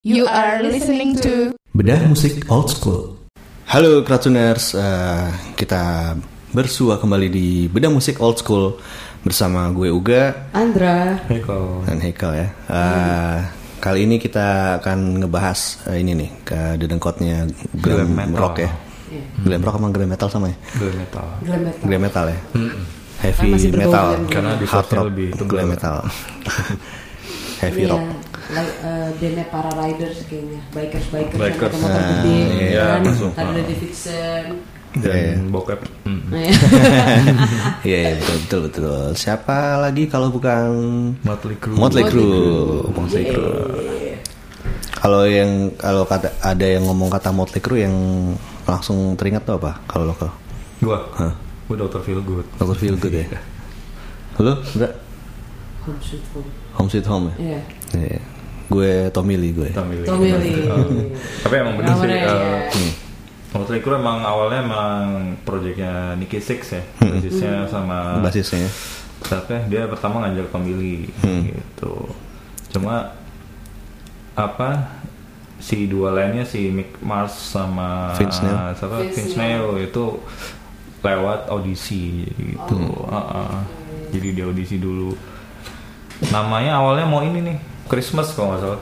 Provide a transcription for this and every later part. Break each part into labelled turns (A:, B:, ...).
A: You are listening to
B: Bedah musik old school.
C: Halo Kratuners, eh, kita bersua kembali di Beda Musik Old School bersama gue Uga
D: Andra
C: dan Hekel ya. Eh, Kali ini kita akan ngebahas eh, ini nih ke dedengkotnya glam,
E: Glam metal.
C: rock ya. Glam rock sama glam metal sama ya.
E: Glam metal.
D: glam metal.
C: Glam metal ya. Heavy
D: Kan masih berbau
C: metal,
D: glam-glam.
E: Karena di
C: hard
E: source-nya
C: rock,
E: lebih tebal.
C: glam metal, heavy
D: Iya,
C: rock.
D: li- eh, bandnya para riders kayaknya bikers bikers,
E: Bikers.
D: yang motor
C: Ah,
D: gede
E: iya,
D: kan
E: masuk.
D: Harley Davidson
E: Dan
C: Iya, iya.
E: bokep.
D: Nah, ya.
C: Iya iya, betul betul betul. Siapa lagi kalau bukan
E: Motley Crue.
C: Motley
D: Motley
C: Crue?
D: Crue.
C: Motley
D: Iya.
C: Crue. Kalau yang kalau kata ada yang ngomong kata Motley Crue yang langsung teringat tuh apa? Kalau lo kalau
E: Gua.
C: Hah.
E: Gua Dr. Feel Good.
C: Dr. Feel Good ya. Lo enggak
D: Home Sweet Home.
C: Home Sweet Home ya?
D: Oh, Iya.
C: Iya. Gue Tommy Lee gue.
E: Tommy Lee.
D: Tommy Lee.
E: Eh, tapi emang bener sih.
D: Awalnya,
E: eh,
D: ya.
C: Hmm.
E: Motley Crue emang awalnya emang proyeknya Nicky Six ya.
C: Hmm.
E: Basisnya sama
C: Basisnya. ya?
E: Tapi dia pertama ngajak Tommy Lee
C: Hmm.
E: gitu. Cuma apa si dua lainnya si Mick Mars sama
C: Vince Neil.
E: siapa
D: Vince
E: Vince Neil itu lewat audisi gitu. Heeh. Jadi dia audisi dulu. Namanya awalnya mau ini nih Christmas kalau nggak salah.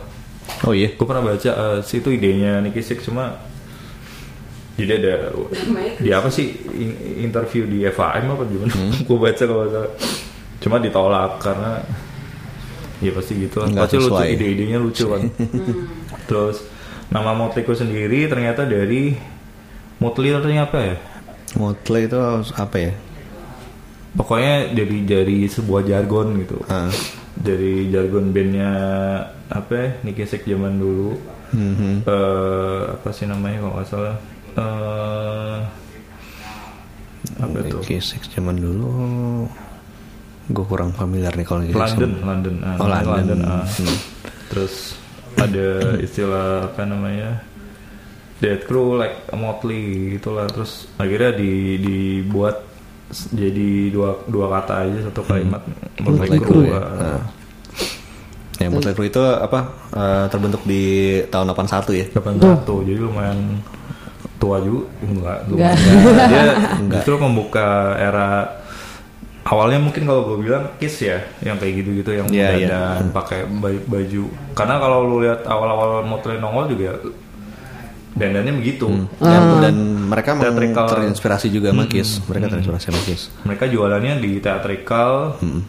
C: Oh iya.
E: Gue pernah baca eh, si itu idenya Nicky Six cuma jadi ada di apa sih in- interview di FAM apa gimana?
C: Hmm.
E: gue baca kalau nggak salah. cuma ditolak karena ya pasti gitu lah.
C: Nggak
E: pasti lucu
C: sesuai. Hmm.
E: ide-idenya lucu kan. Terus nama Motley Crue sendiri ternyata dari Motley artinya apa ya?
C: Motley itu apa ya?
E: Pokoknya dari dari sebuah jargon gitu.
C: Ah.
E: Dari jargon bandnya apa ya? Nicky Six zaman dulu.
C: Mhm.
E: eh apa sih namanya kalau nggak salah eh apa tuh
C: Nicky Six zaman dulu gue kurang familiar nih kalau Nicky Six.
E: London London ah,
C: Oh, London.
E: ah.
C: Hmm.
E: terus ada istilah apa namanya Dead Crew like Motley gitulah terus akhirnya di dibuat s- jadi dua dua kata aja satu kalimat
C: Motley Crue Hmm. ya.
E: ah.
C: Ah. Ya, Motley Crue itu apa eh, terbentuk di tahun 81 ya?
E: 81 jadi lumayan tua juga enggak
D: Enggak.
E: lumayan dia justru membuka era awalnya mungkin kalau gue bilang kiss ya yang kayak gitu-gitu yang
C: Iya, iya.
E: dan pakai ba- baju karena kalau lu lihat awal-awal Motley nongol juga dandannya begitu
C: Dan, dan mereka memang
E: Theatrical.
C: terinspirasi juga sama Kiss. Mereka terinspirasi sama Kiss.
E: mereka jualannya di teatrikal
C: Hmm.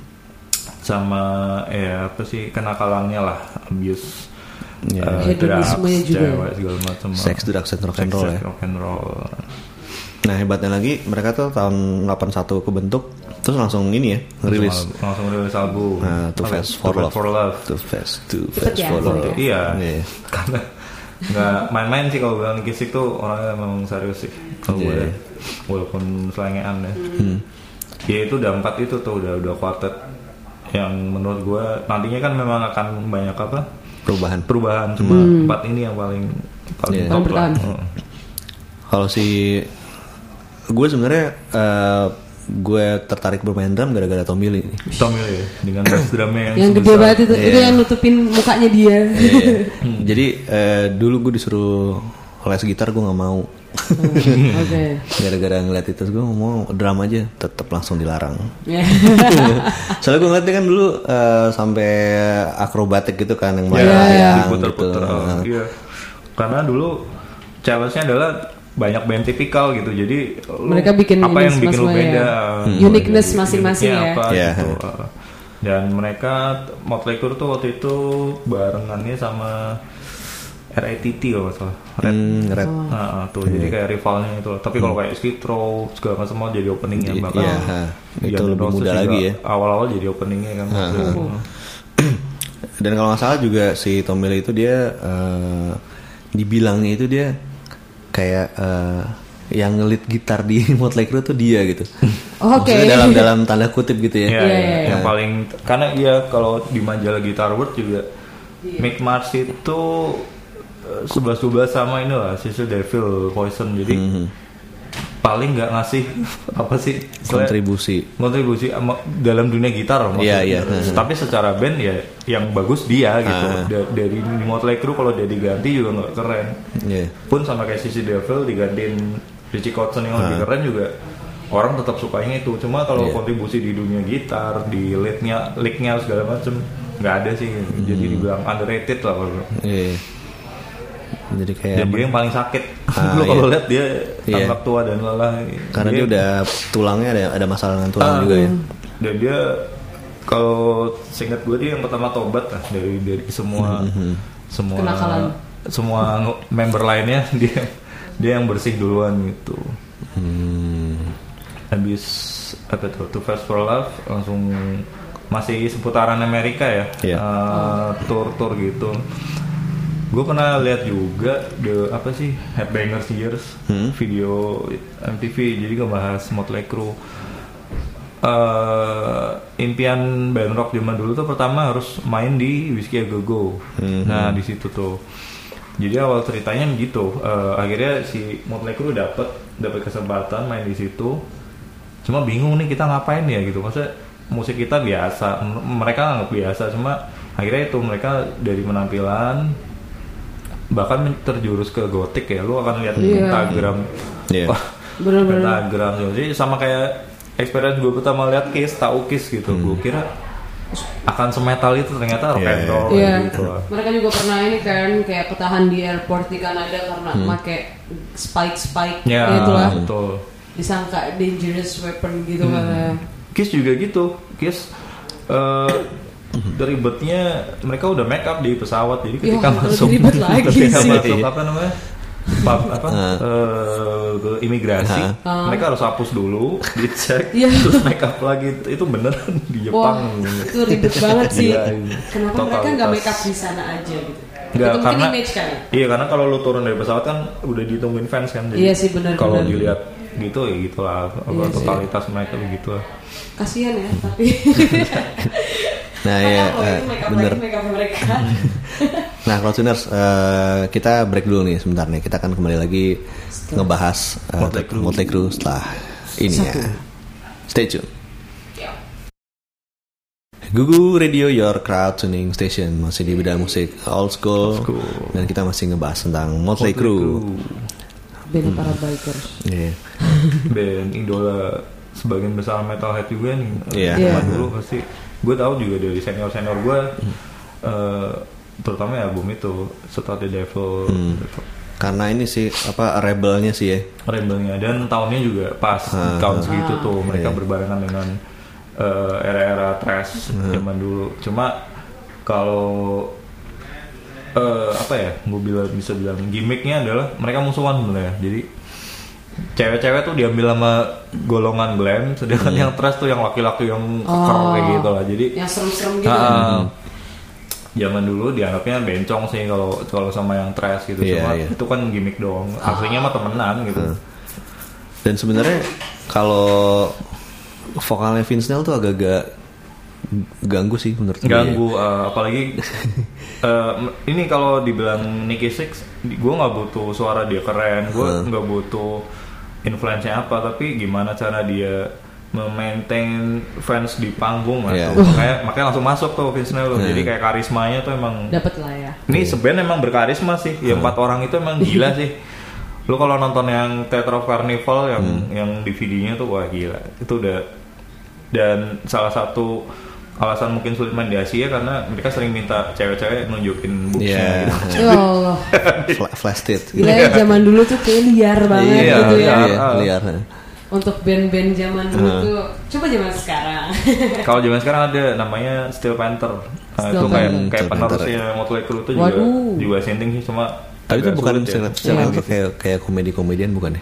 E: sama ya apa sih kenakalannya lah abuse
C: Iya.
E: eh,
D: Hedonismenya
E: drugs,
D: juga. ya?
E: cewek, segala macam
C: Sex, drugs, and rock and roll ya.
E: rock and roll
C: Nah hebatnya lagi mereka tuh tahun 81 kebentuk terus langsung ini ya rilis.
E: Langsung- langsung rilis album
C: Nah, Too
E: Apa? ya?
C: Fast for
E: Fast
C: Love.
E: for Love.
C: Too Fast, Too
D: Cepet
C: Fast
D: ya,
C: for Love.
D: cepet
E: iya
C: Iya.
E: karena nggak main-main sih kalau bilang Kisik tuh orangnya memang serius sih kalau gue
C: Iya. Hmm.
E: ya. walaupun selengean ya ya itu udah empat itu tuh udah udah quartet yang menurut gue nantinya kan memang akan banyak apa
C: Perubahan.
E: perubahan cuma empat ini yang paling
C: Hmm. Iya.
E: paling top
D: Paling
E: lah.
D: bertahan.
E: Heeh.
C: Kalau si gue sebenarnya eh, gue tertarik bermain drum gara-gara Tommy Lee. nih.
E: Tommy Lee ya, dengan bass drumnya yang,
D: yang gede
E: sebesar-
D: banget itu itu
C: Iya.
D: yang nutupin mukanya dia
C: Iya.
E: Hmm.
C: Jadi eh, dulu gue disuruh les gitar gue nggak mau.
E: Iya.
D: oke
C: gara-gara ngeliat itu gue mau drum aja tetap langsung dilarang.
D: Ya.
C: Soalnya gue ngeliatnya kan dulu eh, sampai akrobatik gitu kan yang
E: Iya,
C: melayang
E: diputer-puter.
C: gitu.
E: Oh, Iya. Karena dulu challenge-nya adalah banyak band tipikal gitu. Jadi lu-
D: Mereka bikin
E: apa
D: ini
E: yang bikin lu
D: semua-semua
E: beda?
D: ya.
E: Jadi
D: Uniqueness masing-masing
E: uniquenya
D: ya.
E: apa
C: Hmm. Iya.
E: gitu. Dan mereka Motley Crue tuh waktu itu barengannya sama RATT kalau nggak salah. Red.
C: Hmm, red.
D: Oh.
E: Nah, tuh jadi
C: Hmm.
E: kayak rivalnya itu. Tapi kalau kayak Skid Row segala macam semua jadi openingnya
C: Iya,
E: bahkan.
C: Hmm. iya, ha. Itu
E: Diana
C: lebih
E: Roses
C: muda
E: juga
C: lagi ya. Ah,
E: Awal-awal jadi openingnya kan.
D: Oh.
E: Heeh.
C: Dan kalau nggak salah juga si Tom Mille itu dia eh, dibilangnya itu dia kayak eh, yang ngelit gitar di Motley Crue tuh dia gitu.
D: Oh, oke.
C: Maksudnya dalam dalam tanda kutip gitu ya.
E: Iya,
D: Iya,
E: iya.
D: iya.
E: yang paling karena iya kalau di majalah Guitar World juga Mick Mars itu eh,
C: Mhm.
E: sebelas sebelas sama ini lah Cecil Devil Poison jadi paling nggak ngasih apa sih istilahnya-
C: kontribusi
E: kontribusi ama- dalam dunia gitar loh maksudnya.
C: Iya, iya.
E: tapi secara band ya yang bagus dia gitu
C: Ah.
E: Da- dari Motley Crue kalau dia diganti juga nggak keren
C: Iya.
E: pun sama kayak Sissy Devil digantiin Richie Kotzen yang lebih keren juga orang tetap sukanya itu cuma kalau
C: Ah. Iya.
E: kontribusi di dunia gitar di leadnya leaknya segala macem nggak ada sih jadi
C: Hmm.
E: dibilang underrated lah kalau
C: Iya. jadi kayak
E: dan dia yang paling sakit
C: Iya, Ah,
E: lu kalau
C: iya.
E: lihat dia
C: Iya.
E: tampak tua dan lelah
C: karena dia udah tulangnya ada ada masalah dengan tulang
E: Ah,
C: juga ya
E: Dan dia kalau singkat gue dia yang pertama tobat lah dari dari
C: Hmm,
E: semua semua
D: Kenakalan.
E: semua nge- member lainnya dia dia yang bersih duluan gitu.
C: Hmm.
E: Habis apa tuh Too Fast for Love langsung masih seputaran Amerika ya
C: Iya.
E: tour tour gitu. Gue pernah lihat juga the apa sih Headbangers Years video MTV jadi ngebahas Motley Crue. Eh, impian band rock zaman dulu tuh pertama harus main di Whiskey A Go Go. Nah di situ tuh. Jadi awal ceritanya gitu. Eh, akhirnya si Motley Crue dapat dapat kesempatan main di situ. Cuma bingung nih kita ngapain ya gitu. Maksudnya musik kita biasa, M- mereka nggak biasa. Cuma akhirnya itu mereka dari penampilan bahkan terjurus ke gotik ya. Lu akan lihat di Instagram.
C: Iya.
D: Bener-bener.
E: Pentagram jadi sama kayak experience gue pertama lihat Kiss tahu Kiss gitu gue kira akan semetal itu ternyata
C: Hmm.
E: rock
C: Iya,
E: and roll
D: iya.
E: gitu
D: Mereka juga pernah ini kan kayak ketahan di airport di Kanada karena pakai spike-spike
E: Hmm.
D: ya
E: ya
C: Hmm.
D: itulah.
E: betul Hmm.
D: Disangka dangerous weapon gitu katanya.
E: Kiss juga gitu Kiss eh
C: Hmm.
E: ribetnya mereka udah make up di pesawat jadi ketika
D: Yah,
E: masuk
D: Iya, lebih ribet lagi
E: ketika
D: sih.
E: masuk apa namanya pub, apa
C: Nah.
E: eh, ke imigrasi mereka harus hapus dulu dicek
D: Ah. Iya.
E: terus make up lagi itu beneran di
D: Wah,
E: Jepang
D: itu ribet banget sih.
E: Iya, iya.
D: Kenapa mereka nggak
E: Totalitas.
D: make up di sana aja gitu?
E: Nggak,
D: itu mungkin
E: karena
D: image kan? kali.
E: Iya, karena kalau lu turun dari pesawat kan udah dihitungin fans kan.
D: Iya sih, benar,
E: Kalau
D: benar.
E: dilihat gitu ya gitulah apa,
D: Iya sih.
E: totalitas mereka gitu lah.
D: Kasihan ya, tapi.
C: nah
D: Makanya
C: ya
D: kalau
C: eh,
D: itu make up
C: bener
D: lagi, make up mereka.
C: nah kalau tuners eh, kita break dulu nih sebentar nih kita akan kembali lagi ngebahas eh,
E: Motley Crue.
C: Motley Crue setelah ini ya stay tune
D: Ya.
C: Gugu Radio Your Crowd Tuning Station masih di bidang musik old school, dan kita masih ngebahas tentang Motley, Crue.
D: Band para bikers.
C: Iya.
E: Band idola sebagian besar metalhead juga nih.
C: Iya.
E: Zaman
D: Iya.
E: dulu pasti gue tahu juga dari senior-senior gue eh, terutama ya album itu Setelah The Devil gitu.
C: Karena ini sih apa rebelnya sih ya.
E: Rebelnya dan tahunnya juga pas di tahun segitu tuh mereka
C: Ah, Iya.
E: berbarengan dengan eh, era-era trash
C: Ah.
E: zaman dulu. Cuma kalau eh, apa ya, gue bilang bisa bilang gimmicknya adalah mereka musuhan sebenarnya. Jadi cewek-cewek tuh diambil sama golongan glam, sedangkan
C: Iya.
E: yang trash tuh yang laki-laki yang keker kayak gitu lah. Jadi
D: Oh. Yang serem-serem gitu.
E: Ah, zaman dulu dianggapnya bencong sih kalau kalau sama yang trash gitu
C: Iya,
E: cuma
C: iya. Ah.
E: itu kan gimmick doang
D: Ah.
E: aslinya mah temenan gitu
C: Dan sebenarnya kalau vokalnya Vince Neil tuh agak-agak ganggu sih menurut gue. ya.
E: ganggu eh, apalagi eh, ini kalau dibilang Nicky Six gue nggak butuh suara dia keren gue nggak butuh influence-nya apa tapi gimana cara dia memaintain fans di panggung lah
C: Iya.
E: tuh. Makanya, makanya langsung masuk tuh Vince Neil tuh. jadi kayak karismanya tuh emang
D: Dapat lah ya.
E: Ini
C: Iya.
E: sebenarnya emang berkarisma sih. Ya
C: Hmm.
E: empat orang itu emang gila sih. Lu kalau nonton yang Theater of Carnival yang
C: Hmm.
E: yang DVD-nya tuh wah gila. Itu udah dan salah satu alasan mungkin sulit main di Asia karena mereka sering minta cewek-cewek nunjukin
C: Iya.
E: boobsnya gitu.
D: Ya Allah.
C: Fla- gitu. Flash tit.
D: Gila ya, zaman dulu tuh kayak liar banget
E: Iya,
D: gitu ya.
E: liar.
C: Iya. liar.
D: Untuk band-band zaman dulu
C: Ah.
D: tuh, coba zaman sekarang.
E: Kalau zaman sekarang ada namanya Steel Panther. Nah,
D: Steel
E: itu kayak
D: Panther.
E: kayak
C: Steel Panther,
E: penerusnya Motley Crue itu juga
D: Waduh.
E: juga ascending sih cuma
C: Tapi itu
E: agak
C: bukan
E: sulit ya.
D: Iya.
C: stand- stand up kayak kayak komedi-komedian bukan ya?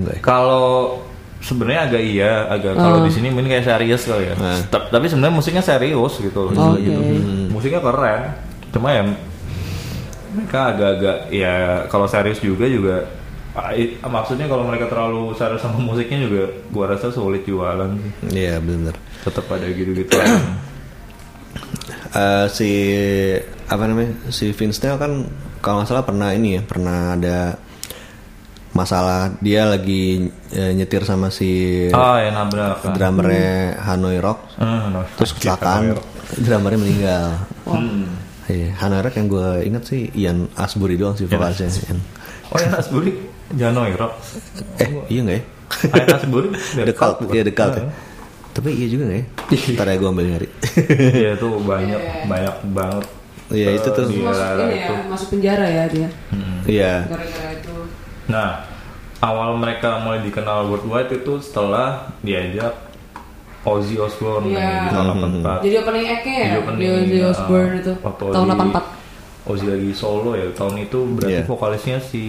C: Enggak ya?
E: Kalau sebenarnya agak iya, agak kalau di sini mungkin kayak serius kali ya. Ta- Tapi sebenarnya musiknya serius gitu, loh,
D: Oke.
E: gitu. Musiknya keren. Cuma ya mereka agak-agak ya kalau serius juga juga ah, i- maksudnya kalau mereka terlalu serius sama musiknya juga gua rasa sulit jualan sih.
C: Iya, benar.
E: Tetap ada gitu-gitu.
C: Eh, si apa namanya si Vince Neil kan kalau nggak salah pernah ini ya pernah ada masalah dia lagi eh, nyetir sama si
E: Ah, yang nabrak. kan.
C: drummernya Hanoi Rock
E: Ah, no.
C: terus kecelakaan drummernya meninggal iya Hanoi Rock yang gue inget sih Ian Asbury doang sih vokalisnya Ian.
E: Oh, yang Asburi jangan noirok.
C: eh iya nggak ya
E: Ah, yang Asburi
C: The Cult
E: bukan?
C: iya The Cult ya.
E: Ah.
C: tapi iya juga nggak ya ntar ya gue ambil nyari
E: Iya itu banyak banyak banget.
C: Iya, itu tuh.
E: di
D: masuk
E: era-era
D: ini ya,
E: itu.
D: masuk penjara ya dia.
C: iya
D: Gara-gara itu.
E: Nah, awal mereka mulai dikenal worldwide itu setelah diajak Ozzy Osbourne
D: Iya.
E: di
C: Hmm.
E: tahun 84.
D: Jadi opening act ya, di
E: Dia Ah. opening,
D: Ozzy
E: uh,
D: Osbourne itu
E: waktu
D: tahun
E: Ozzy-
D: 84.
E: Ozzy lagi solo ya tahun itu berarti
C: Iya.
E: vokalisnya si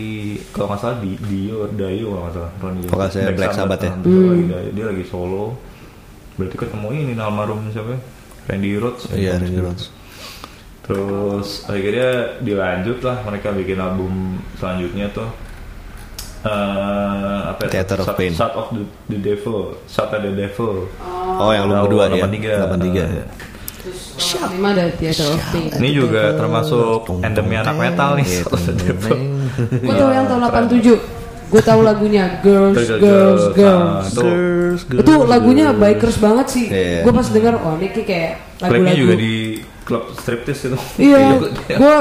E: kalau nggak salah di Dio or Dayo kalau nggak salah Ronnie James.
C: Vokalisnya Black Sabbath ya?
E: nah, betul, lagi
D: Hmm.
E: Dayo. dia lagi solo berarti ketemu ini nih, almarhum siapa ya? Randy Rhoads ya?
C: iya Randy Rhoads
E: Terus akhirnya dilanjut lah mereka bikin album selanjutnya tuh eh apa ya?
C: Theater of
E: Shot-
C: Pain.
E: Shot of the, the Devil, Shot of the Devil.
C: oh yang lu berdua ya 83 ya
D: Terus tahun 85 ada Theater of Pain.
E: Eh, Ini juga
C: Oh,
E: termasuk endemnya anak metal nih.
C: Iya,
E: Shot of the Devil.
D: Gue tahu yang tahun 87. Gue tahu lagunya Girls,
E: Girls,
D: Girls,
E: Girls.
D: Girls.
E: Ah,
C: Girls,
D: Itu lagunya bikers banget sih.
C: Iya.
D: Gue pas denger oh ini kayak
E: Klipnya
D: lagu-lagu
E: juga di klub striptease itu.
D: Iya, gue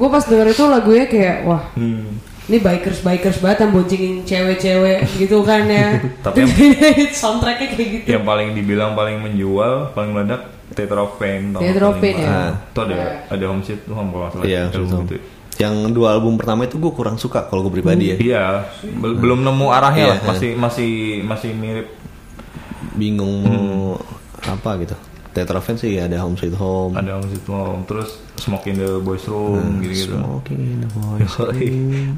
D: gue pas denger itu lagunya kayak wah
E: Hmm.
D: ini bikers bikers banget yang boncengin cewek-cewek gitu kan ya.
E: Tapi-
D: soundtracknya kayak gitu.
E: Yang paling dibilang paling menjual, paling meledak Theater of Pain.
D: Theater of Pain, ya.
E: Itu ada ada home sheet tuh kalau nggak salah.
C: Iya, betul.
E: Album gitu.
C: Yang dua album pertama itu gue kurang suka kalau gue pribadi ya.
E: Iya, bel- belum nemu arahnya
C: Iya,
E: lah. Masih masih masih mirip.
C: Bingung mau apa gitu. Tetra Fan sih ada Home Sweet Home.
E: Ada Om Sitmom, terus Smoke in the Boys
C: Hmm,
E: Room gitu-gitu.
C: Smoking in the Voice.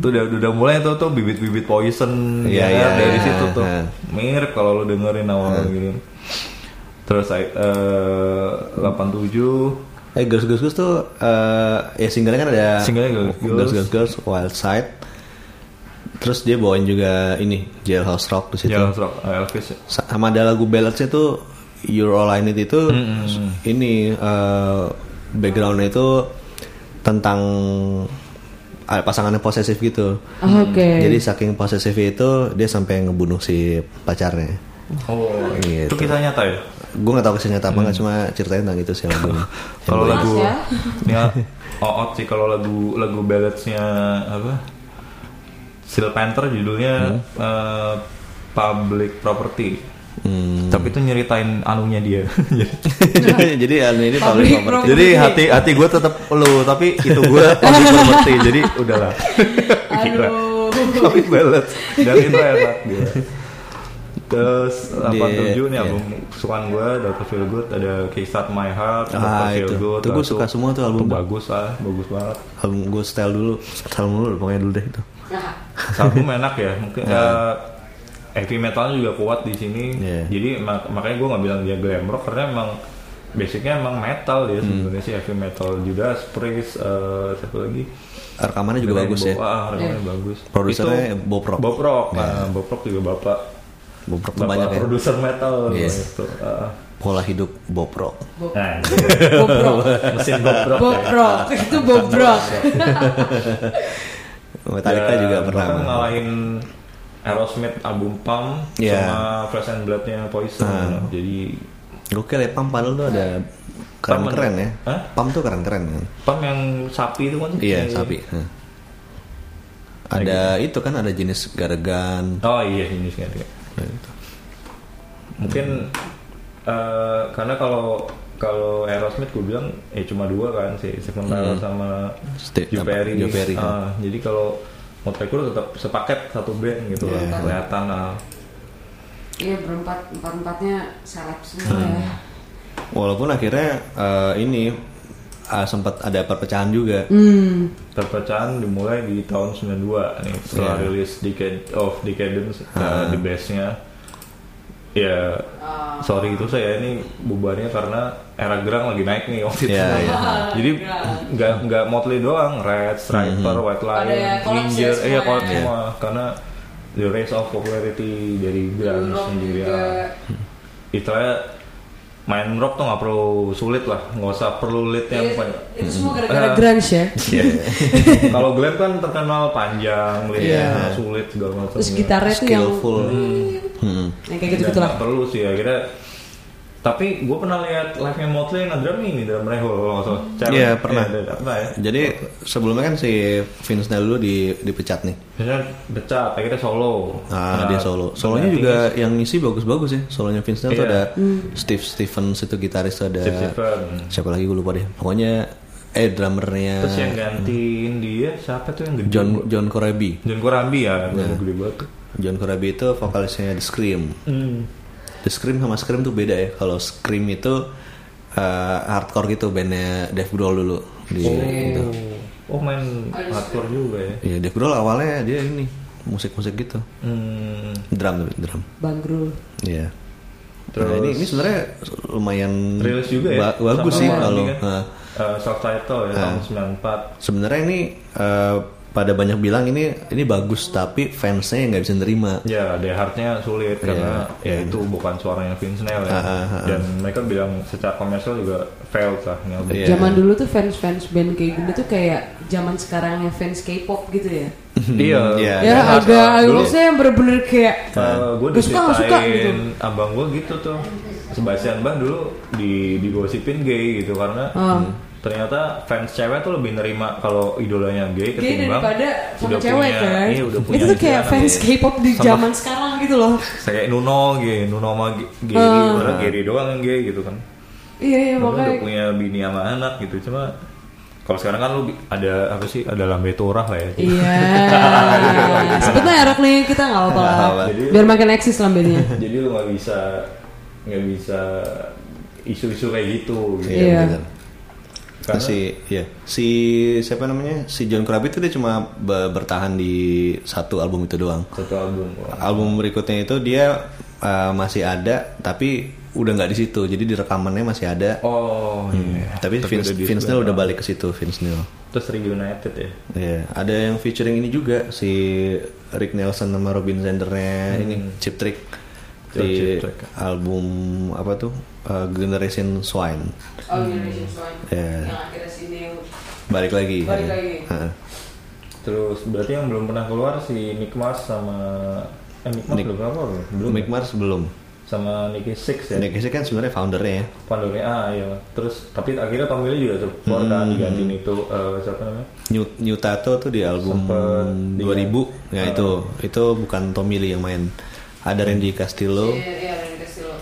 E: Itu udah udah mulai tuh tuh bibit-bibit poison
C: Iya,
E: ya,
C: iya,
E: dari
C: iya.
E: situ tuh.
C: Iya.
E: Mirip kalau lo dengerin awal gitu. Terus eh, 87
C: eh Girls Girls Girls tuh eh ya singlenya kan ada
E: Singlenya Girls,
C: Girls
E: Girls.
C: Girls, Girls, Wild Side. Terus dia bawain juga ini Jailhouse Rock di situ.
E: Jalan Rock eh, Elvis.
C: sama ada lagu balladsnya tuh You're All I Need itu
E: Mm,
C: ini eh, backgroundnya itu tentang eh, pasangannya posesif gitu
D: Ah, Oke.
C: jadi saking posesif itu dia sampai ngebunuh si pacarnya
E: Oh,
C: Gitu.
E: itu kisah nyata ya.
C: gue nggak tahu kisah nyata apa nggak cuma ceritanya tentang itu sih lagunya
E: Mm. Kalau
D: Yang
E: lagu
D: Mas,
E: ya oot sih kalau lagu lagu balladsnya apa? Steel Panther
C: Hmm.
E: judulnya eh, Public Property.
C: Hmm.
E: Tapi itu nyeritain anunya dia.
C: jadi ya
D: Public
C: ini paling
D: property.
E: Jadi hati hati gue tetap lu, tapi itu gue public property. Jadi udahlah. Iya, Gila.
D: Aduh.
E: Public ballads dan
C: Iya.
E: itu enak dia. Terus 87 nih
C: iya.
E: album kesukaan gue Dr. Feel Good ada Kickstart My Heart,
C: Ah,
E: Dr. Feel
C: itu.
E: Good
C: Itu gua
E: lalu
C: suka semua tuh album
E: itu
C: tuh.
E: bagus ah, bagus banget
C: album gue style dulu style mulu pokoknya dulu deh itu
D: Nah,
E: Satu enak ya, mungkin eh, heavy metalnya juga kuat di sini.
C: Iya.
E: Jadi mak- makanya gue nggak bilang dia glam rock karena emang basicnya emang metal
C: Hmm.
E: ya sebenarnya sih heavy metal juga Priest, eh, satu lagi
C: rekamannya juga
E: Ada yang
C: bagus ya
E: bawa- ah, rekamannya bagus.
C: Produsernya
E: Itu
C: Bob Rock.
E: Bob Rock, ah, Bob Rock juga bapak
C: Bob Rock tuh
E: bapak
C: banyak ya
E: produser metal
C: Iya.
E: gitu. Ah.
C: pola hidup Bob Rock
E: Nah,
D: bobrok,
E: mesin Bob Rock. ya.
D: bobrok, itu bobrok.
C: Metallica
E: Ya,
C: juga pernah
E: bahkan ngalahin Aerosmith album Pump
C: Iya. Ah.
E: sama Flesh and Bloodnya Poison jadi
C: Gokil ya pam padahal tuh ada keren-keren ya.
E: Hah?
C: Pam tuh keren-keren kan.
E: Pump yang sapi itu kan
C: Iya, sapi. Hah.
E: gitu.
C: Ada itu kan ada jenis Nah, garagan.
E: oh iya ini sih ada. mungkin eh, karena kalau kalau Aerosmith gue bilang ya cuma dua kan si Stephen Tyler sama
C: Ste-
E: Joe
C: Hmm. apa,
E: Perry,
C: Joe Perry,
E: Ah, jadi kalau Motley Crue tetap sepaket satu band gitu lah
C: Iya.
E: kelihatan lah
D: Iya berempat empat empatnya seleb semua
E: Hmm.
D: ya.
C: Walaupun akhirnya eh, ini eh, sempat ada perpecahan juga.
D: Hmm.
E: perpecahan dimulai di tahun 92 nih setelah
C: Iya. Ah.
E: rilis Decade of Decadence uh, the bestnya ya sorry itu saya ini bubarnya karena era gerang lagi naik nih waktu itu
C: Iya, iya.
E: jadi nggak nggak Motley doang Red Striper
C: Mhm.
E: White Lion
D: Pada kolaps ya
E: Ginger eh
D: semua
E: ya
D: ya.
E: kolaps
C: Iya.
E: semua karena the rise of popularity dari grunge
D: Rock
E: sendiri
D: juga.
E: Itulah ya. main rock tuh nggak perlu sulit lah nggak usah perlu lead yang
D: Itu,
E: banyak
D: Iya, itu semua gara-gara
E: Eh.
D: grunge ya.
E: Iya. Kalau glam kan terkenal panjang,
C: Iya.
E: leadnya sulit segala macam. ya.
D: Terus gitarnya tuh yang
C: skillful Hmm.
D: yang kayak gitu-gitu lah.
E: Terus Iya, sih akhirnya. Tapi gue pernah lihat live-nya Motley yang drum ini drum reho kalau nggak salah. Cewek.
C: Iya, pernah.
E: Iya, ada- pernah ya.
C: Jadi sebelumnya kan si Vince Neil dulu di dipecat nih.
E: Biasanya becat, akhirnya solo.
C: Ah,
E: Nah,
C: dia solo. Solonya
E: berarti
C: juga yang ngisi bagus-bagus ya. Solonya Vince Neil tuh
E: Iya.
C: ada Steve Stevens itu gitaris tuh ada
E: Steve Stevens.
C: siapa lagi gue lupa deh. Pokoknya eh drummernya
E: Terus yang gantiin dia siapa tuh yang gede?
C: Ah. John Iya. John Corabi.
E: John Corambi ya, yang gede banget. tuh.
C: John Corabi itu vokalisnya The Scream.
E: Hmm.
C: The Scream sama Scream tuh beda ya. Kalau Scream itu eh, hardcore gitu bandnya Dave Grohl dulu. Di, gitu.
E: Oh main hardcore juga ya.
C: Ya Dave Grohl awalnya dia ini musik-musik gitu.
E: Hmm.
C: Drum tapi drum.
D: Bang Grul.
C: Iya.
E: Terus-
C: Nah, ini ini sebenarnya lumayan
E: rilis juga ya.
C: ba- bagus
E: Sama
C: sih
E: ini
C: kalau Ah.
E: kan,
C: nah,
E: eh, self title ya tahun 94.
C: sebenarnya ini eh, pada banyak bilang ini ini bagus tapi fansnya yang nggak bisa nerima.
E: Ya, The Heart-nya sulit
C: Iya,
E: karena ya itu bukan suaranya Vince Neil
C: Ah,
E: ya. Dan mereka bilang secara komersial juga failed lah. nggak
C: Iya.
D: Zaman dulu tuh fans-fans band kayak gini tuh kayak zaman sekarang yang fans K-pop gitu ya.
E: Iya.
C: Iya.
D: Ya
E: Nah,
D: agak
E: dulu,
D: lu saya bener-bener kayak
E: gue
D: Gak suka, gak suka, gitu.
E: diceritain abang gue gitu tuh. Sebastian Bang dulu di digosipin gay gitu karena
D: Ah.
E: hmm, ternyata fans cewek tuh lebih nerima kalau idolanya
D: gay
E: gay ketimbang
D: daripada sama
E: udah
D: cewek
E: punya-
D: kan.
E: iya, udah punya
D: itu tuh kayak
E: istri
D: fans
E: anak.
D: K-pop di
E: Sama-
D: zaman sekarang gitu loh.
E: kayak Nuno gay, Nuno sama G- Gary,
D: Ah.
E: padahal Gary doang yang gay gitu kan.
D: Iya iya
E: Lu udah
D: makanya.
E: punya bini sama anak gitu cuma kalau sekarang kan lu bi- ada apa sih ada lambe torah lah ya
D: Iya. Sebetulnya erok nih kita nggak apa-apa lah.
E: Jadi-
D: Biar makin eksis lah bandnya.
E: jadi lu nggak bisa nggak bisa isu-isu kayak gitu gitu
D: Iya.
C: bener. Nah, si ya si siapa namanya si John Corabi itu dia cuma be- bertahan di satu album itu doang.
E: satu album oh. Wah.
C: Album berikutnya itu dia eh, masih ada tapi udah nggak di situ. Jadi di rekamannya masih ada.
E: oh iya
C: Hmm, tapi Vince,
E: udah di-
C: Vince Neil udah balik ke situ Vince Neil.
E: terus reunited ya
C: Iya, ada yang featuring ini juga si Rick Nelson sama Robin Zendernya ini Chip Trick
E: Oh,
C: di
E: Cheap Hmm. Trick.
C: album apa tuh uh, Generation Swine
D: Oh Generation Swine.
C: Iya.
D: Yang akhirnya sini yang
C: balik lagi.
D: Balik
C: ya.
D: lagi.
C: Heeh.
E: terus berarti yang belum pernah keluar si Nick Mars sama eh, Nick Mars
C: Nick-
E: belum apa belum belum
C: Mick Mars belum.
E: sama Nicky Six ya
C: Nick Casey kan sebenarnya foundernya ya.
E: Pandora ah iya terus tapi akhirnya pemilih juga tuh keluar
C: Hmm.
E: kan digantiin itu eh, siapa namanya
C: New, New Tato tuh di album
E: Sempet
C: 2000
E: di-
C: ya
E: Ah.
C: itu itu bukan Tommy Lee yang main ada Randy Castillo
D: Iya iya yang kasih lo.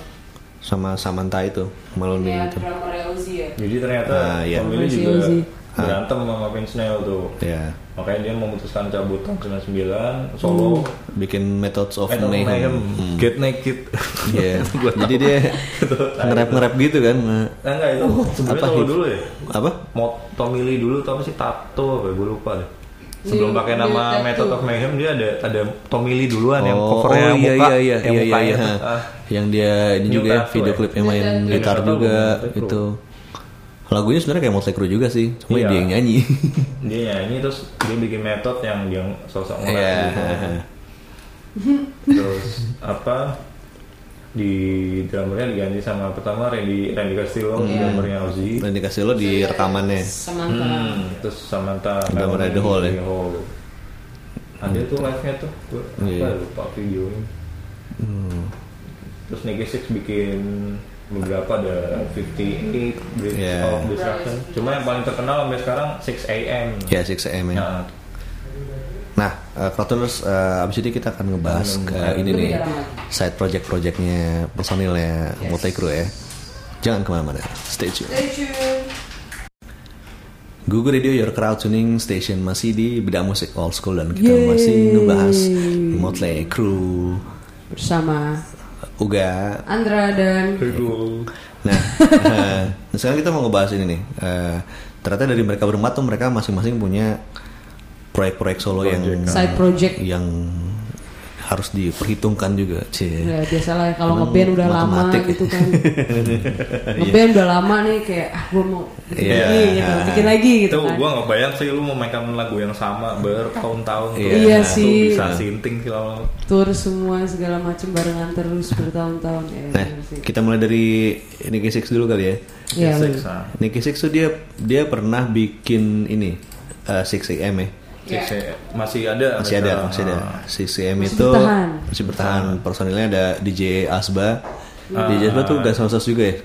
C: sama Samantha itu Maloney
D: Yang
C: itu
D: drama Uzi ya.
E: Jadi ternyata
C: Ah, iya. Ah.
E: pemilih
D: Masih
E: juga
D: Uzi.
E: berantem sama Vince Neil tuh.
C: ya
E: Makanya dia memutuskan cabut tahun 99 solo.
C: bikin Methods of
E: Eh, tahun
C: Mayhem.
E: Mayhem.
C: Hmm.
E: Get Naked.
C: Iya.
E: Gua tahu.
C: Jadi dia ngerap ngerap gitu kan. Nah,
E: Nah, enggak itu sebenarnya
C: apa
E: solo
C: hit?
E: dulu ya.
C: Apa?
E: Mau Tommy Lee dulu tapi sih tato apa gue lupa deh. Sebelum
D: New-
E: pakai
D: New
E: nama
D: Tattoo.
E: Method of Mayhem dia ada ada Tommy Lee duluan Kan yang
C: Oh, oh,
E: covernya
C: iya,
E: muka,
C: iya, iya,
E: yang
C: iya,
E: mukanya
C: iya,
E: tuh,
C: iya.
E: ah.
C: yang dia ini
E: New
C: juga ya,
E: Tattoo
C: video
E: ya?
C: klipnya main
D: New Tattoo.
C: gitar
E: New Tattoo,
C: juga
E: Motley Crue.
C: itu. Lagunya sebenarnya kayak Motley Crue juga sih, cuma
E: Iya.
C: dia yang nyanyi.
E: Dia nyanyi terus dia bikin metode yang dia sosok ngelag
C: Iya.
E: gitu. terus apa di drummernya diganti sama pertama Randy Randy Castillo drummernya Ozzy
C: Dan Iya. dikasih lo di rekamannya.
D: Samantha.
E: Hmm, terus Samantha
C: Drummernya The Hole ya?
E: The Hole. ada tuh live nya tuh gue apa
C: Iya. Hmm.
E: lupa videonya terus Nicky Six bikin beberapa ada 58 Bridge
C: Iya.
E: of Destruction cuma yang paling terkenal sampai sekarang 6 AM
C: Ya 6am ya.
E: Nah,
C: Nah, uh, Crowdtuners, uh, abis ini kita akan ngebahas
E: Iya.
C: ke ini nih
D: Iya.
C: side project-projectnya personilnya Motley Crue ya. Jangan kemana-mana, stay tune. Google Radio Your Crowd Tuning Station masih di beda musik old school dan kita masih ngebahas Motley Crue,
D: Bersama
C: Uga.
D: Andra dan
E: Google
C: Nah, eh, nah, sekarang kita mau ngebahas ini nih. Eh, ternyata dari mereka berempat tuh mereka masing-masing punya proyek-proyek solo yang
D: side project
C: yang harus diperhitungkan juga cie
D: Ya, biasalah kalau
C: Emang
D: ngeband udah lama
C: matematik.
D: gitu kan. ngeband udah lama nih kayak ah gue mau bikin
C: Iya.
D: lagi gitu, bikin lagi gitu
E: itu
D: kan.
E: gue nggak bayang sih lu memainkan lagu yang sama bertahun-tahun tuh.
C: Iya
E: Nah,
D: sih.
E: tuh bisa sinting sih lama
D: Tour semua segala macam barengan terus bertahun-tahun ya.
C: nah
D: bener sih.
C: kita mulai dari Nicky Six dulu kali ya
D: Iya, bener.
E: nah.
C: Nicky Six tuh dia dia pernah bikin ini eh, 6am ya
E: masih ada Ah.
C: masih ada masih ada 6am
D: Masih
C: itu
D: bertahan.
C: masih bertahan personilnya ada DJ Asba DJ Asba tuh gak sama juga ya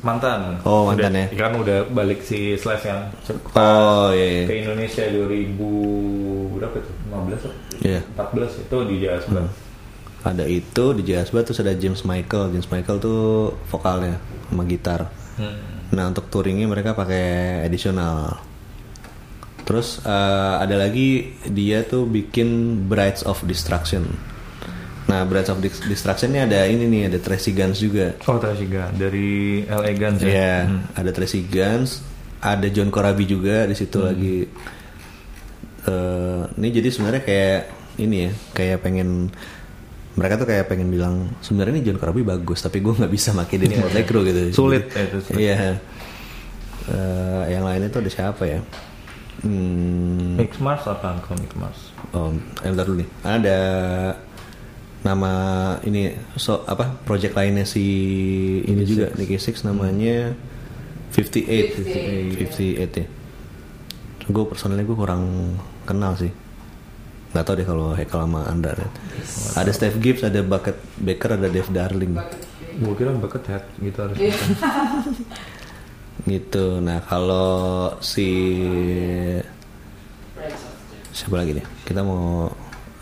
E: mantan
C: Oh, mantan
E: Udah-
C: ya.
E: kan udah balik si Slash yang
C: oh iya
E: ke
C: iya
E: Indonesia 2000 berapa itu 15 atau
C: Iya.
E: 14 itu ya. di Jazz Bar.
C: ada itu DJ Asba terus ada James Michael James Michael tuh vokalnya sama gitar nah untuk touringnya mereka pakai additional terus eh, ada lagi dia tuh bikin Brides of Destruction nah Brides of Dis- Destruction ini ada ini nih ada Tracy Guns juga
E: Oh Tracy Gun dari LA Guns
C: Iya,
E: ya.
C: ada Tracy Guns, ada John Corabi juga di
E: Hmm.
C: situ lagi. Eh, ini jadi sebenarnya kayak ini ya, kayak pengen mereka tuh kayak pengen bilang sebenarnya ini John Corabi bagus, tapi gue nggak bisa pakai dia di Motley Crue gitu.
E: Iya. Sulit.
C: Jadi-
E: Ya, itu sulit.
C: Iya. Eh, yang lainnya tuh ada siapa ya? Hmm,
E: Mix Mars apa kalau Mix Mars?
C: Oh, eh, bentar dulu nih. Ada nama ini so apa project lainnya si ini juga Nicky Six namanya 58 58 ya. Gue personalnya gue kurang kenal sih. Gak tau deh kalau Hekal sama Anda. Ada Steve Gibbs, ada Bucket Baker, ada Dave Darling.
E: Gue kira bucket hat gitu harus.
C: Gitu. Nah, kalau si siapa lagi nih? Kita mau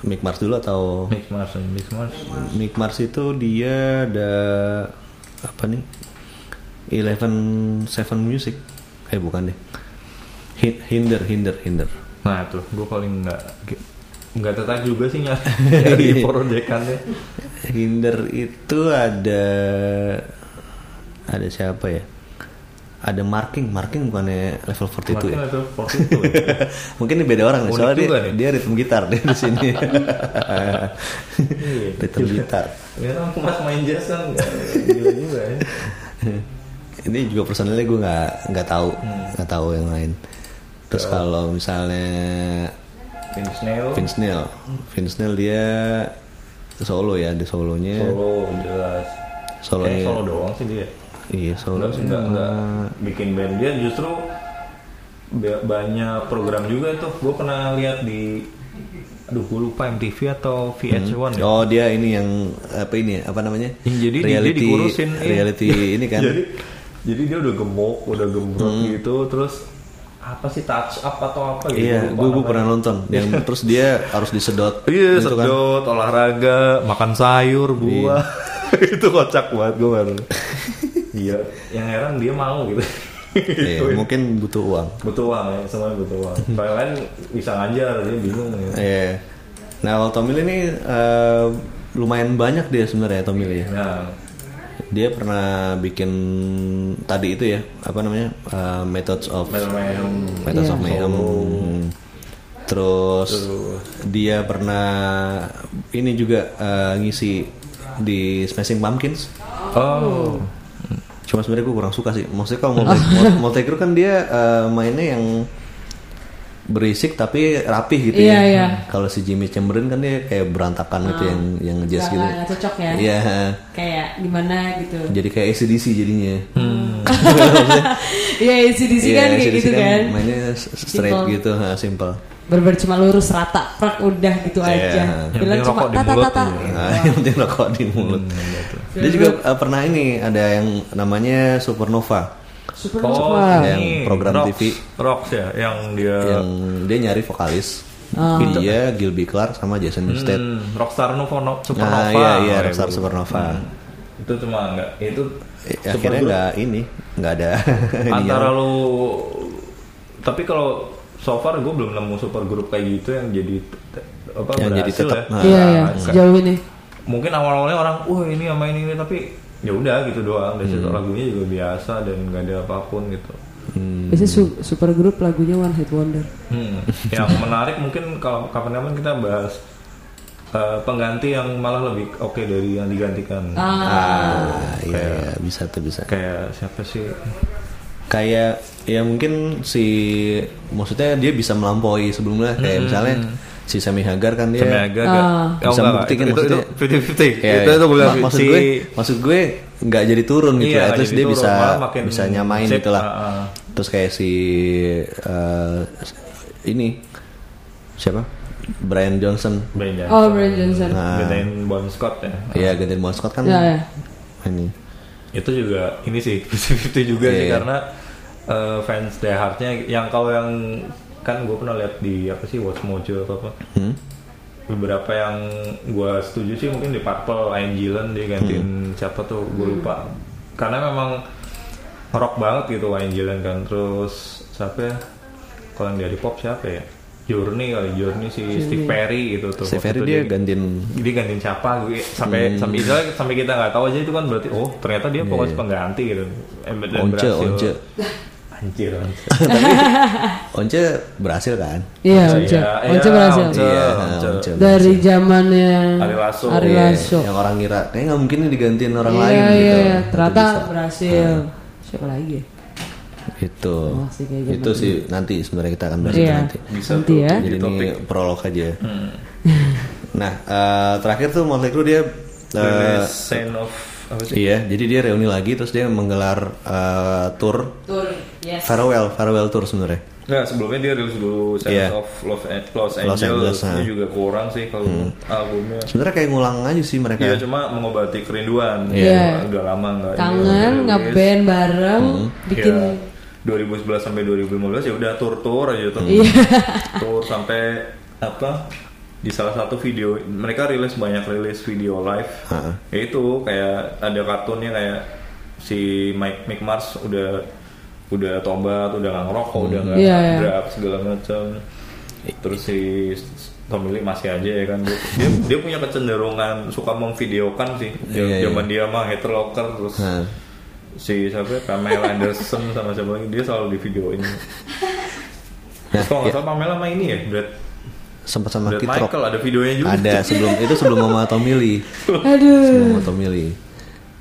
C: Mick Mars dulu atau
E: Mix Mars, Mix Mars.
C: Nick Mars itu dia ada apa nih? Eleven Seven Music. Eh bukan deh. Hin- Hinder, hinder, hinder.
E: Nah tuh, gue paling nggak nggak tertarik juga sih nyari
C: Iya.
E: nyari proyekannya.
C: Hinder itu ada ada siapa ya? Ada marking, marking bukannya level 42 ya?
E: Makanya itu waktu itu. ya.
C: Mungkin ini beda orang nih,
E: Unik
C: soalnya dia,
E: juga nih.
C: dia ritme gitar dia di sini. ritme gitar.
E: Ya kan mas main jazz kan nggak- gila juga ya.
C: ini juga personalnya gue nggak nggak tahu
E: Hmm.
C: nggak tahu yang lain terus kalau misalnya
E: Vince Neil,
C: Vince Neil Vince Neil dia solo ya ada solonya
E: solo jelas.
C: Solo
E: Kayaknya
C: ya.
E: solo doang sih dia.
C: iya solo
E: Enggak sih, enggak, enggak bikin band dia justru ba- banyak program juga tuh. Gue pernah lihat di aduh gue lupa MTV atau VH1 ya.
C: oh dia ini yang apa ini apa namanya
E: Yang jadi dia- dia
C: reality
E: dikurusin, iya.
C: reality ini kan Hmm.
E: jadi jadi dia udah gemuk, udah gembrot gitu terus apa sih touch up atau apa gitu.
C: iya gue
E: Gua lupa
C: gue pernah
E: namanya.
C: nonton yang terus dia harus disedot
E: Iya,
C: gitu kan. Iya.
E: sedot, olahraga, makan sayur, buah. itu kocak banget gue baru. Iya, yang heran dia mau gitu. ya.
C: Iya, mungkin butuh uang
E: butuh uang ya, semuanya butuh uang. Kalau lain bisa ngajar, dia bingung ya.
C: Iya. nah kalau Tommy Lee ini eh, lumayan banyak dia sebenarnya Tommy Lee ya.
E: Nah,
C: dia pernah bikin tadi itu ya apa namanya uh, methods of
E: main-main
C: methods
D: Iya.
C: of mayhem terus dia pernah ini juga uh, ngisi di Smashing Pumpkins
E: Oh,
C: cuma sebenarnya gue kurang suka sih maksudnya kalau multi mul- multi crew kan dia uh, mainnya yang berisik tapi rapih gitu
D: Iya,
C: ya
D: iya. Oh.
C: kalau si Jimmy Chamberlain kan dia kayak berantakan gitu yang yang jazz
D: Nggak-
C: gitu
D: nggak cocok ya.
C: iya
D: Kayak gimana gitu.
C: jadi kayak ACDC jadinya
D: Hmm. Iya, isi di sini
C: Iya,
D: kan kayak
C: ACDC
D: gitu kan.
C: Mainnya s- straight
D: Simple.
C: gitu, ha, simple.
D: Berber cuma lurus rata, prak udah gitu
C: Iya.
D: aja. Bilang
C: Yang
D: cuma Iya,
E: penting rokok di
D: tata
E: mulut
D: tata.
E: aja.
C: Nah, yang penting rokok di mulut.
E: Hmm,
C: Dia juga eh, pernah ini ada yang namanya Supernova.
D: Super
E: oh
D: cepat.
C: Yang
E: ini
C: program
E: Rocks,
C: TV.
E: Rocks ya, yang dia
C: yang dia nyari vokalis.
D: Ah.
C: Dia Gilby Clark sama Jason Newsted.
E: Hmm, Rockstar Nova, no, Supernova.
C: Nah, iya iya
E: Oh,
C: Rockstar
E: bu-
C: Supernova.
E: Itu cuma enggak, itu
C: Eh, Akhirnya
E: supergroup.
C: nggak ini, nggak ada. ininya.
E: antara lu tapi kalau so far gue belum nemu super grup kayak gitu yang jadi te- apa
C: Yang jadi
E: berhasil
C: tetap,
E: ya.
D: Iya,
C: nah.
E: Nah,
D: iya,
E: kayak-
D: sejauh ini.
E: mungkin awal-awalnya orang wah ini sama ini ini tapi ya udah gitu doang dan
C: Hmm.
E: situ lagunya juga biasa dan nggak ada apapun gitu
C: Hmm.
D: Biasanya su- super grup lagunya One Hit Wonder.
E: Hmm. yang menarik mungkin kalau kapan-kapan kita bahas eh, pengganti yang malah lebih oke dari yang digantikan.
C: Ah, iya, iya, bisa tuh bisa.
E: Kayak siapa sih?
C: Iya. kayak ya mungkin si maksudnya dia bisa melampaui sebelumnya kayak
E: Hmm.
C: misalnya si Sami Hagar kan dia
E: Sampai agak agak-
D: Ah.
E: Oh,
C: bisa
E: enggak,
C: membuktikan
E: itu, itu,
C: maksudnya
E: itu 50-50.
C: Ya,
E: itu itu gue bilang
C: mak- maksud
E: si-
C: gue maksud gue nggak jadi turun gitu
E: Iya,
C: ya
E: nggak
C: terus
E: jadi
C: dia
E: turun,
C: bisa
E: malah makin
C: bisa nyamain
E: sip,
C: gitu lah
E: ah, ah.
C: terus kayak si eh, ini siapa Brian Johnson
E: Brian Johnson.
D: Oh, Brian Johnson.
C: Nah.
E: Gantiin Bon Scott ya.
C: ya gantiin Bon Scott kan
D: Ya, ya.
C: ini
E: Itu juga ini sih 50-50 juga sih
C: Iya.
E: karena eh, fans Die Hard-nya yang kalau yang kan gue pernah lihat di apa sih Watch Mojo atau apa.
C: Hmm?
E: beberapa yang gue setuju sih mungkin di Purple, Ian Gillan dia
C: Hmm.
E: gantiin siapa tuh gue lupa karena memang rock banget gitu Ian Gillan kan terus siapa ya kalau yang dari pop siapa ya Journey kali Journey si Steve Perry gitu tuh
C: si
E: Waktu
C: Ferry
E: itu
C: dia gantiin
E: dia gantiin siapa gue
C: Hmm.
E: sampai sampai itu- sampai kita nggak tahu aja itu kan berarti oh ternyata dia fokus pengganti gitu Eh,
C: Iya, Once
E: dan berhasil.
C: Once
E: anjir anjir
C: Once berhasil kan
D: Iya, Once.
E: Iya,
D: Once
E: iya,
D: berhasil.
E: Once.
C: Iya,
E: Once.
C: Once.
D: Dari zamannya
E: Ari Lasso.
D: Ari
C: Iya,
D: Lasso.
C: yang orang ngira kayaknya nggak mungkin nih digantiin orang
D: Iya,
C: lain
D: iya,
C: gitu
D: iya. Ternyata
C: Itu bisa. Ah.
D: berhasil. Siapa lagi ya?
C: itu
D: Masih kayak zaman
C: itu sih nanti sebenarnya kita akan bahas itu
D: Iya.
C: nanti
E: Bisa
D: Nanti
E: tuh.
D: ya.
C: jadi
E: Di
C: ini
E: topik. Hmm.
C: prolog aja nah eh, terakhir tuh Motley Crue dia eh,
E: Sign of apa sih
C: iya jadi dia reuni lagi terus dia menggelar eh, tour
D: Tur. Yes.
C: farewell farewell tour sebenarnya
E: Nah sebelumnya dia rilis dulu Sense
C: Iya.
E: of Love and Los
C: Los
E: Angeles,
C: Angeles,
E: Dia
C: nah. Hmm.
E: juga kurang sih kalau albumnya.
C: sebenarnya kayak ngulang aja sih mereka
E: Dia Iya, cuma mengobati kerinduan.
D: Iya.
E: Udah- Udah lama nggak. ini,
D: Kangen
C: Iya,
E: nggak rilis.
D: ngeband bareng,
C: Hmm.
D: bikin
E: Iya. 2011 sampai 2015 ya udah tur-tur aja tuh.
D: Iya.
E: tur sampai apa? Di salah satu video mereka rilis banyak rilis video live.
C: Ha.
E: Ya Itu kayak ada kartunnya kayak si Mike Mike Mars udah udah tobat, udah nggak ngerokok,
C: Hmm.
E: udah nggak
D: Iya, iya.
E: drugs, segala macam. Terus si Tommy Lee masih aja ya kan dia dia punya kecenderungan suka memvideokan sih
C: Iya, iya.
E: zaman dia mah hater locker terus
C: Nah,
E: si siapa ya, Pamela Anderson sama siapa lagi dia selalu di videoin
C: Nah,
E: terus kalau nggak salah Pamela sama ini ya Brad
C: sempat sama
E: Brad
C: Kid Rock
E: Michael ada videonya juga
C: ada sebelum itu sebelum sama Tommy Lee
D: aduh.
C: sebelum sama Tommy Lee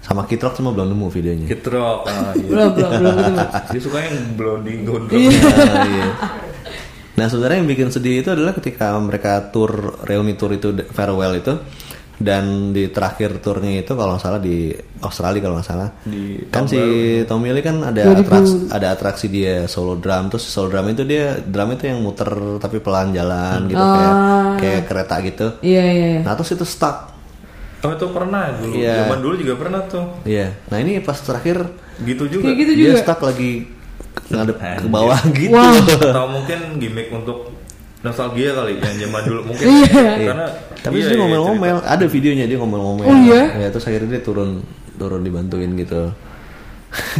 C: sama Kid Rock cuma belum nemu videonya
E: Kid Rock ah, iya.
D: Belum, belum, belum ketemu.
E: dia suka yang blonding gondrong
C: Ah, iya. Nah sebenarnya yang bikin sedih itu adalah ketika mereka tour reuni tour itu d- farewell itu dan di terakhir turnya itu kalau nggak salah di Australia kalau nggak salah
E: Di
C: kan si Tommy Lee kan ada
D: 2000.
C: atraksi, ada atraksi dia solo drum terus solo drum itu dia drum itu yang muter tapi pelan jalan gitu kayak kayak kereta gitu
D: Iya, iya, Oh. iya.
C: nah terus itu stuck
E: oh itu pernah dulu
C: Iya.
E: zaman dulu juga pernah tuh
C: iya nah ini pas terakhir
E: gitu juga
D: Kayak gitu
C: dia
D: juga.
C: stuck lagi ngadep ke bawah gitu
E: atau mungkin gimmick untuk nostalgia kali yang zaman dulu mungkin karena
C: Tapi
E: iya,
C: terus dia
E: iya,
C: ngomel-ngomel, ada videonya dia ngomel-ngomel.
D: Oh, iya?
C: Ya, terus akhirnya dia turun turun dibantuin gitu.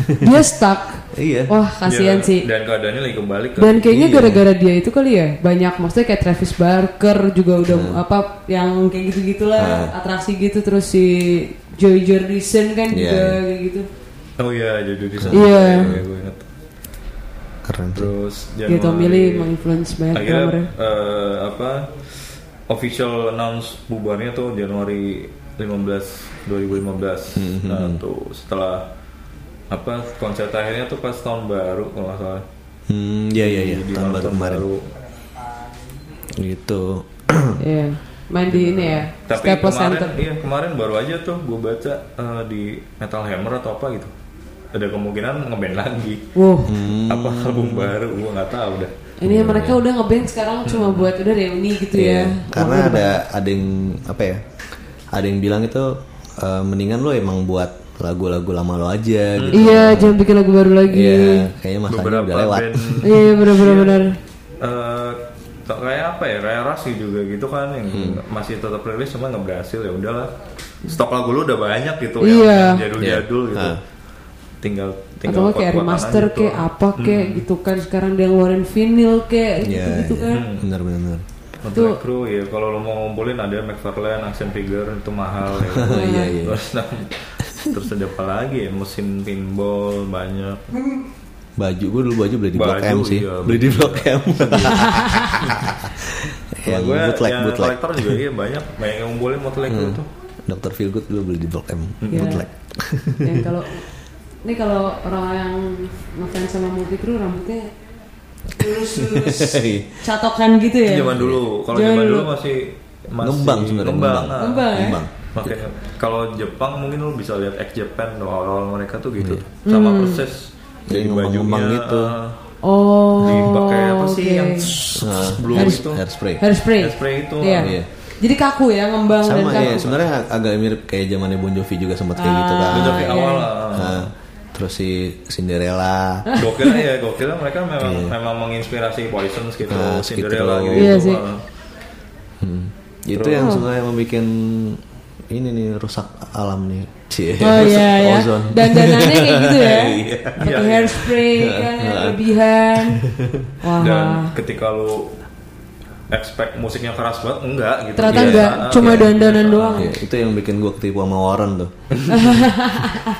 D: Dia stuck.
C: iya.
D: Wah,
E: cerita.
D: kasihan
E: Iya,
D: sih.
E: dan keadaannya lagi kan. kembali ke
D: Dan kayaknya gara-gara dia itu kali ya banyak maksudnya kayak Travis Barker juga udah
C: Iya.
D: apa yang kayak gitu-gitulah atraksi gitu terus si Joy Jordison kan
C: Iya,
D: juga
C: iya.
D: kayak gitu.
E: oh iya jadi di sana
D: Iya.
E: gue ingat.
C: Keren tuh.
E: terus
D: Dia Tommy
E: Januari-
D: Lee menginfluence banyak drummer.
E: iya. akhirnya eh, apa official announce bubarnya tuh Januari 15 2015
C: Hmm.
E: nah tuh setelah apa konser terakhirnya tuh pas tahun baru kalau nggak salah
C: Hmm, iya iya iya,
E: Di
C: tahun
E: malam
C: baru kemarin. Gitu.
D: Iya. Main di ini ya,
E: tapi
D: Staples
E: kemarin
D: Center.
E: iya kemarin baru aja tuh gue baca eh, di Metal Hammer atau apa gitu ada kemungkinan ngeband lagi
D: Wow.
C: Hmm.
E: apa album baru gue nggak tahu dah
D: Ini mereka udah ngeband sekarang
E: Hmm.
D: cuma buat udah reuni gitu ya.
C: Iya. Karena ada ada yang apa ya? Ada yang bilang itu eh, mendingan lo emang buat lagu-lagu lama lo aja
E: Hmm.
C: gitu.
D: Iya, jangan bikin lagu baru lagi.
C: Iya, kayaknya masanya
E: beberapa
C: udah lewat.
E: band
D: Iya, benar-benar benar.
E: eh t- kayak apa ya kayak Rasi juga gitu kan yang
C: Hmm.
E: masih tetap rilis cuma nggak berhasil ya udahlah stok lagu lu udah banyak gitu yang-
D: Iya.
E: yang jadul-jadul
C: Iya.
E: gitu
C: Ah.
E: tinggal
D: Atau
E: tinggal gitu.
D: nggak kayak
E: kuat-kuatan
D: remaster
E: aja Hmm. tuh.
D: kayak apa kayak gitu kan sekarang dia ngeluarin vinyl kayak
C: Iya.
D: gitu-gitu
C: iya.
D: kan.
C: Bener bener. bener.
E: Motley Crue ya kalau lu mau ngumpulin ada McFarlane, Action Figure itu mahal ya.
C: Iya, iya.
E: Terus terus ada apa lagi ya musim pinball banyak. iya,
C: Baju gue dulu baju beli di Blok
E: Baju,
C: M sih.
E: iya,
C: beli di Blok M. Yang
E: gue
C: bootleg,
E: yang
C: bootleg.
E: kolektor juga iya banyak banyak yang ngumpulin motlek
C: Hmm.
E: itu
C: Dr. Feelgood dulu beli di Blok M
D: Iya.
C: bootleg.
D: Dan kalau ini kalau orang yang ngefans sama multi crew rambutnya lurus lurus catokan gitu ya.
E: Itu zaman dulu kalau
D: Zaman
E: zaman dulu
D: dulu.
E: masih masih
C: Ngembang sebenarnya, ngembang.
E: ngembang, ah.
D: Ngembang ya?
C: Ngembang.
E: makanya
C: Iya.
E: kalau Jepang mungkin lu bisa lihat ex Japan tuh, awal-awal mereka tuh gitu sama
D: Hmm.
E: persis
C: Jadi
E: Di
C: ngembang-ngembang
E: bajunya,
C: Iya. gitu.
E: ah,
D: Oh.
E: dipakai apa sih
D: oke.
E: yang
C: Nah,
E: belum
C: hair-
E: itu
C: hairspray.
D: hairspray?
E: hairspray Oh, itu
D: Iya.
C: Iya.
D: Jadi kaku ya ngembang dan
E: iya,
C: Sama
D: kaku.
C: ya, sebenarnya ag- agak mirip kayak zamannya Bon Jovi juga sempat kayak gitu
D: Ah,
C: kan.
E: Bon
D: iya.
E: Jovi awal ah. lah.
C: Nah, terus si Cinderella.
D: Ah.
E: gokil ya gokil mereka memang
C: Iya.
E: memang menginspirasi Poison gitu
C: Ah,
E: Cinderella
C: gitu.
E: gitu,
D: Iya sih.
E: ah.
C: Hmm. Itu yang sebenarnya membuat ini nih rusak alam nih. Cie,
D: Oh
C: rusak
D: iya ya.
C: ozon.
D: Dandanannya kayak gitu ya.
C: Iya.
D: Pakai
E: Iya.
D: hairspray kan yang berlebihan. Wah.
E: dan ketika lu expect musiknya keras banget enggak gitu
D: Ternyata
E: Biasa,
D: enggak,
E: ah,
D: cuma
E: biasa.
D: dandanan doang.
C: Iya, itu yang bikin gue ketipu sama Warren tuh.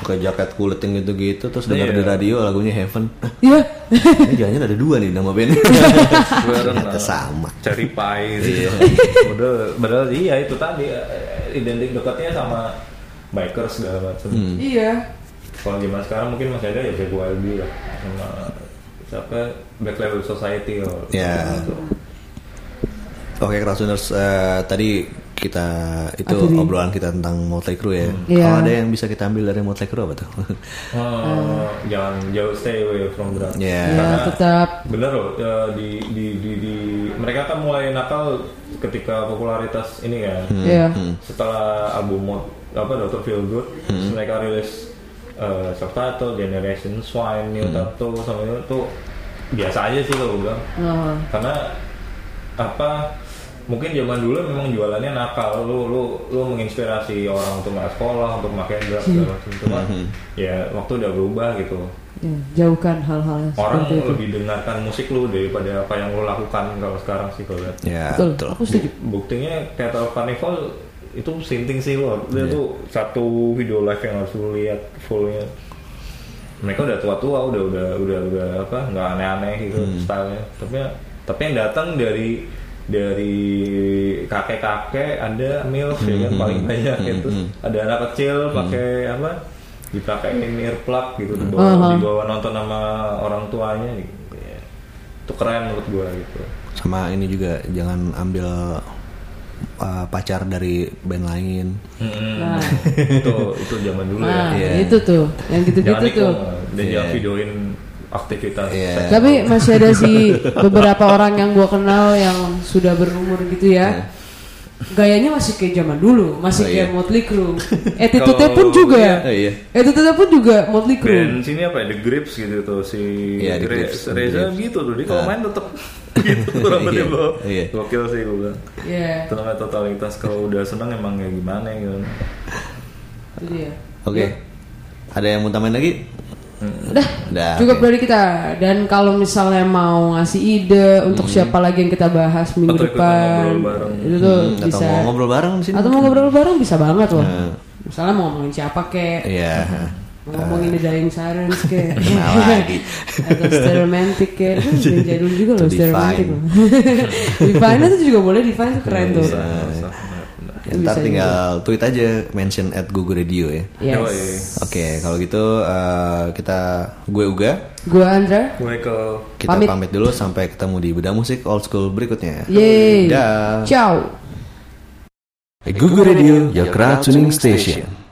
C: Pakai jaket kulit yang gitu-gitu terus denger
E: Iya.
C: di radio lagunya Heaven. Ah,
D: Iya.
E: Hmm.
C: Ini jangan ada dua nih nama bandnya.
E: Bareng
C: Ternyata
E: lah.
C: sama.
E: Cherry pie gitu. sih. Udah, padahal iya itu tadi eh, identik dekatnya sama bikers segala macam.
D: Iya.
E: Kalau zaman sekarang mungkin masih ada ya BYOB lah sama siapa Black Label Society loh.
C: Ya.
E: Gitu.
C: Oke, Krasuners, eh, tadi kita itu
D: Apa nih?
C: obrolan kita tentang Motley Crue ya.
D: Iya.
C: Kalau ada yang bisa kita ambil dari Motley Crue apa tuh?
E: Oh, jangan jauh stay away from drugs.
D: Ya,
C: Iya.
E: Karena-
D: tetap
E: Bener loh, ya, di, di, di, di- mereka kan mulai nakal ketika popularitas ini kan.
D: Iya.
E: Setelah album Mod, apa Dr. Feel Good, mereka rilis uh, Subtitle, Generation Swine, New Tattoo, sama itu tuh biasa aja sih kalau gue bilang.
D: Oh.
E: Karena apa mungkin zaman dulu memang jualannya nakal lu lu lu menginspirasi orang untuk nggak sekolah untuk makan drugs segala macam cuma ya waktu udah berubah gitu
D: Ya, jauhkan hal-hal yang
E: orang
D: seperti itu.
E: lebih dengarkan musik lu daripada apa yang lu lakukan kalau sekarang sih kalau lihat.
C: ya,
D: Betul. Aku setuju.
E: Iya. Buktinya Theater Carnival itu sinting sih lo. Dia tuh satu video live yang harus lu lihat fullnya. Mereka udah tua-tua, udah udah udah udah apa nggak aneh-aneh gitu stylenya. Tapi tapi yang datang dari dari kakek-kakek ada milf ya kan paling banyak itu ada anak kecil pakai apa dipakein earplug gitu dibawa,
D: Aha.
E: dibawa nonton sama orang tuanya gitu ya. itu keren menurut gua gitu
C: Sama ini juga jangan ambil eh, pacar dari band lain.
D: Nah,
E: itu itu zaman dulu ya
D: nah,
C: Iya.
D: itu tuh, yang
E: jangan
D: gitu-gitu
E: itu
D: tuh.
E: dan jangan
C: Iya.
E: videoin aktivitas
C: Iya.
E: seks.
D: Tapi masih ada sih beberapa orang yang gua kenal yang sudah berumur gitu ya. Gayanya masih kayak zaman dulu, masih
C: Iya. Oh,
D: kayak
C: iya.
D: Motley Crue. Attitude-nya pun
E: Kalau-
D: juga.
C: Oh, iya.
D: Attitude-nya pun juga Motley Crue.
E: band sini apa ya The Grips gitu tuh si
C: Iya, The
E: Re-
C: Grips, The
E: Reza
C: Grips.
E: gitu tuh dia kalau
C: Ah.
E: main tetep gitu tuh rambutnya
C: Iya,
E: bawa.
C: iya.
E: gokil sih gue bilang
D: Iya.
E: Itu namanya totalitas kalau udah seneng emang kayak gimana gitu
D: Itu dia. Iya.
C: Oke. Ada yang mau tambahin lagi?
D: Hmm. Udah,
C: Udah,
D: cukup
C: oke.
D: dari kita. Dan kalau misalnya mau ngasih ide untuk
C: Hmm.
D: siapa lagi yang kita bahas minggu
E: Atau ikut
D: depan,
E: ngobrol bareng.
D: itu tuh
C: Hmm, atau
D: bisa.
C: mau ngobrol Nah. bareng di sini?
D: Atau mau ngobrol bareng bisa banget loh. Misalnya mau ngomongin siapa kek,
C: Iya.
D: mau ngomongin The Dying Sirens kek,
C: Kenal lagi.
D: atau Stereomantic kek, Itu band jadul juga
C: Itu
D: loh Stereomantic.
C: Divine.
D: Divine itu juga boleh Divine itu keren tuh.
C: Ya,
D: Bisa
C: Ntar tinggal tweet aja mention at Google Radio ya.
D: Iya.
E: Yoi.
D: Yes.
C: Oke, kalau gitu eh, kita gue Uga,
D: Gue Andra.
E: gue ke
C: kita
D: Pamit.
C: pamit. dulu sampai ketemu di Bedah Musik Old School berikutnya.
B: Iya.
D: Yeay.
C: Dah.
D: Ciao.
B: Google Radio, your crowd tuning station.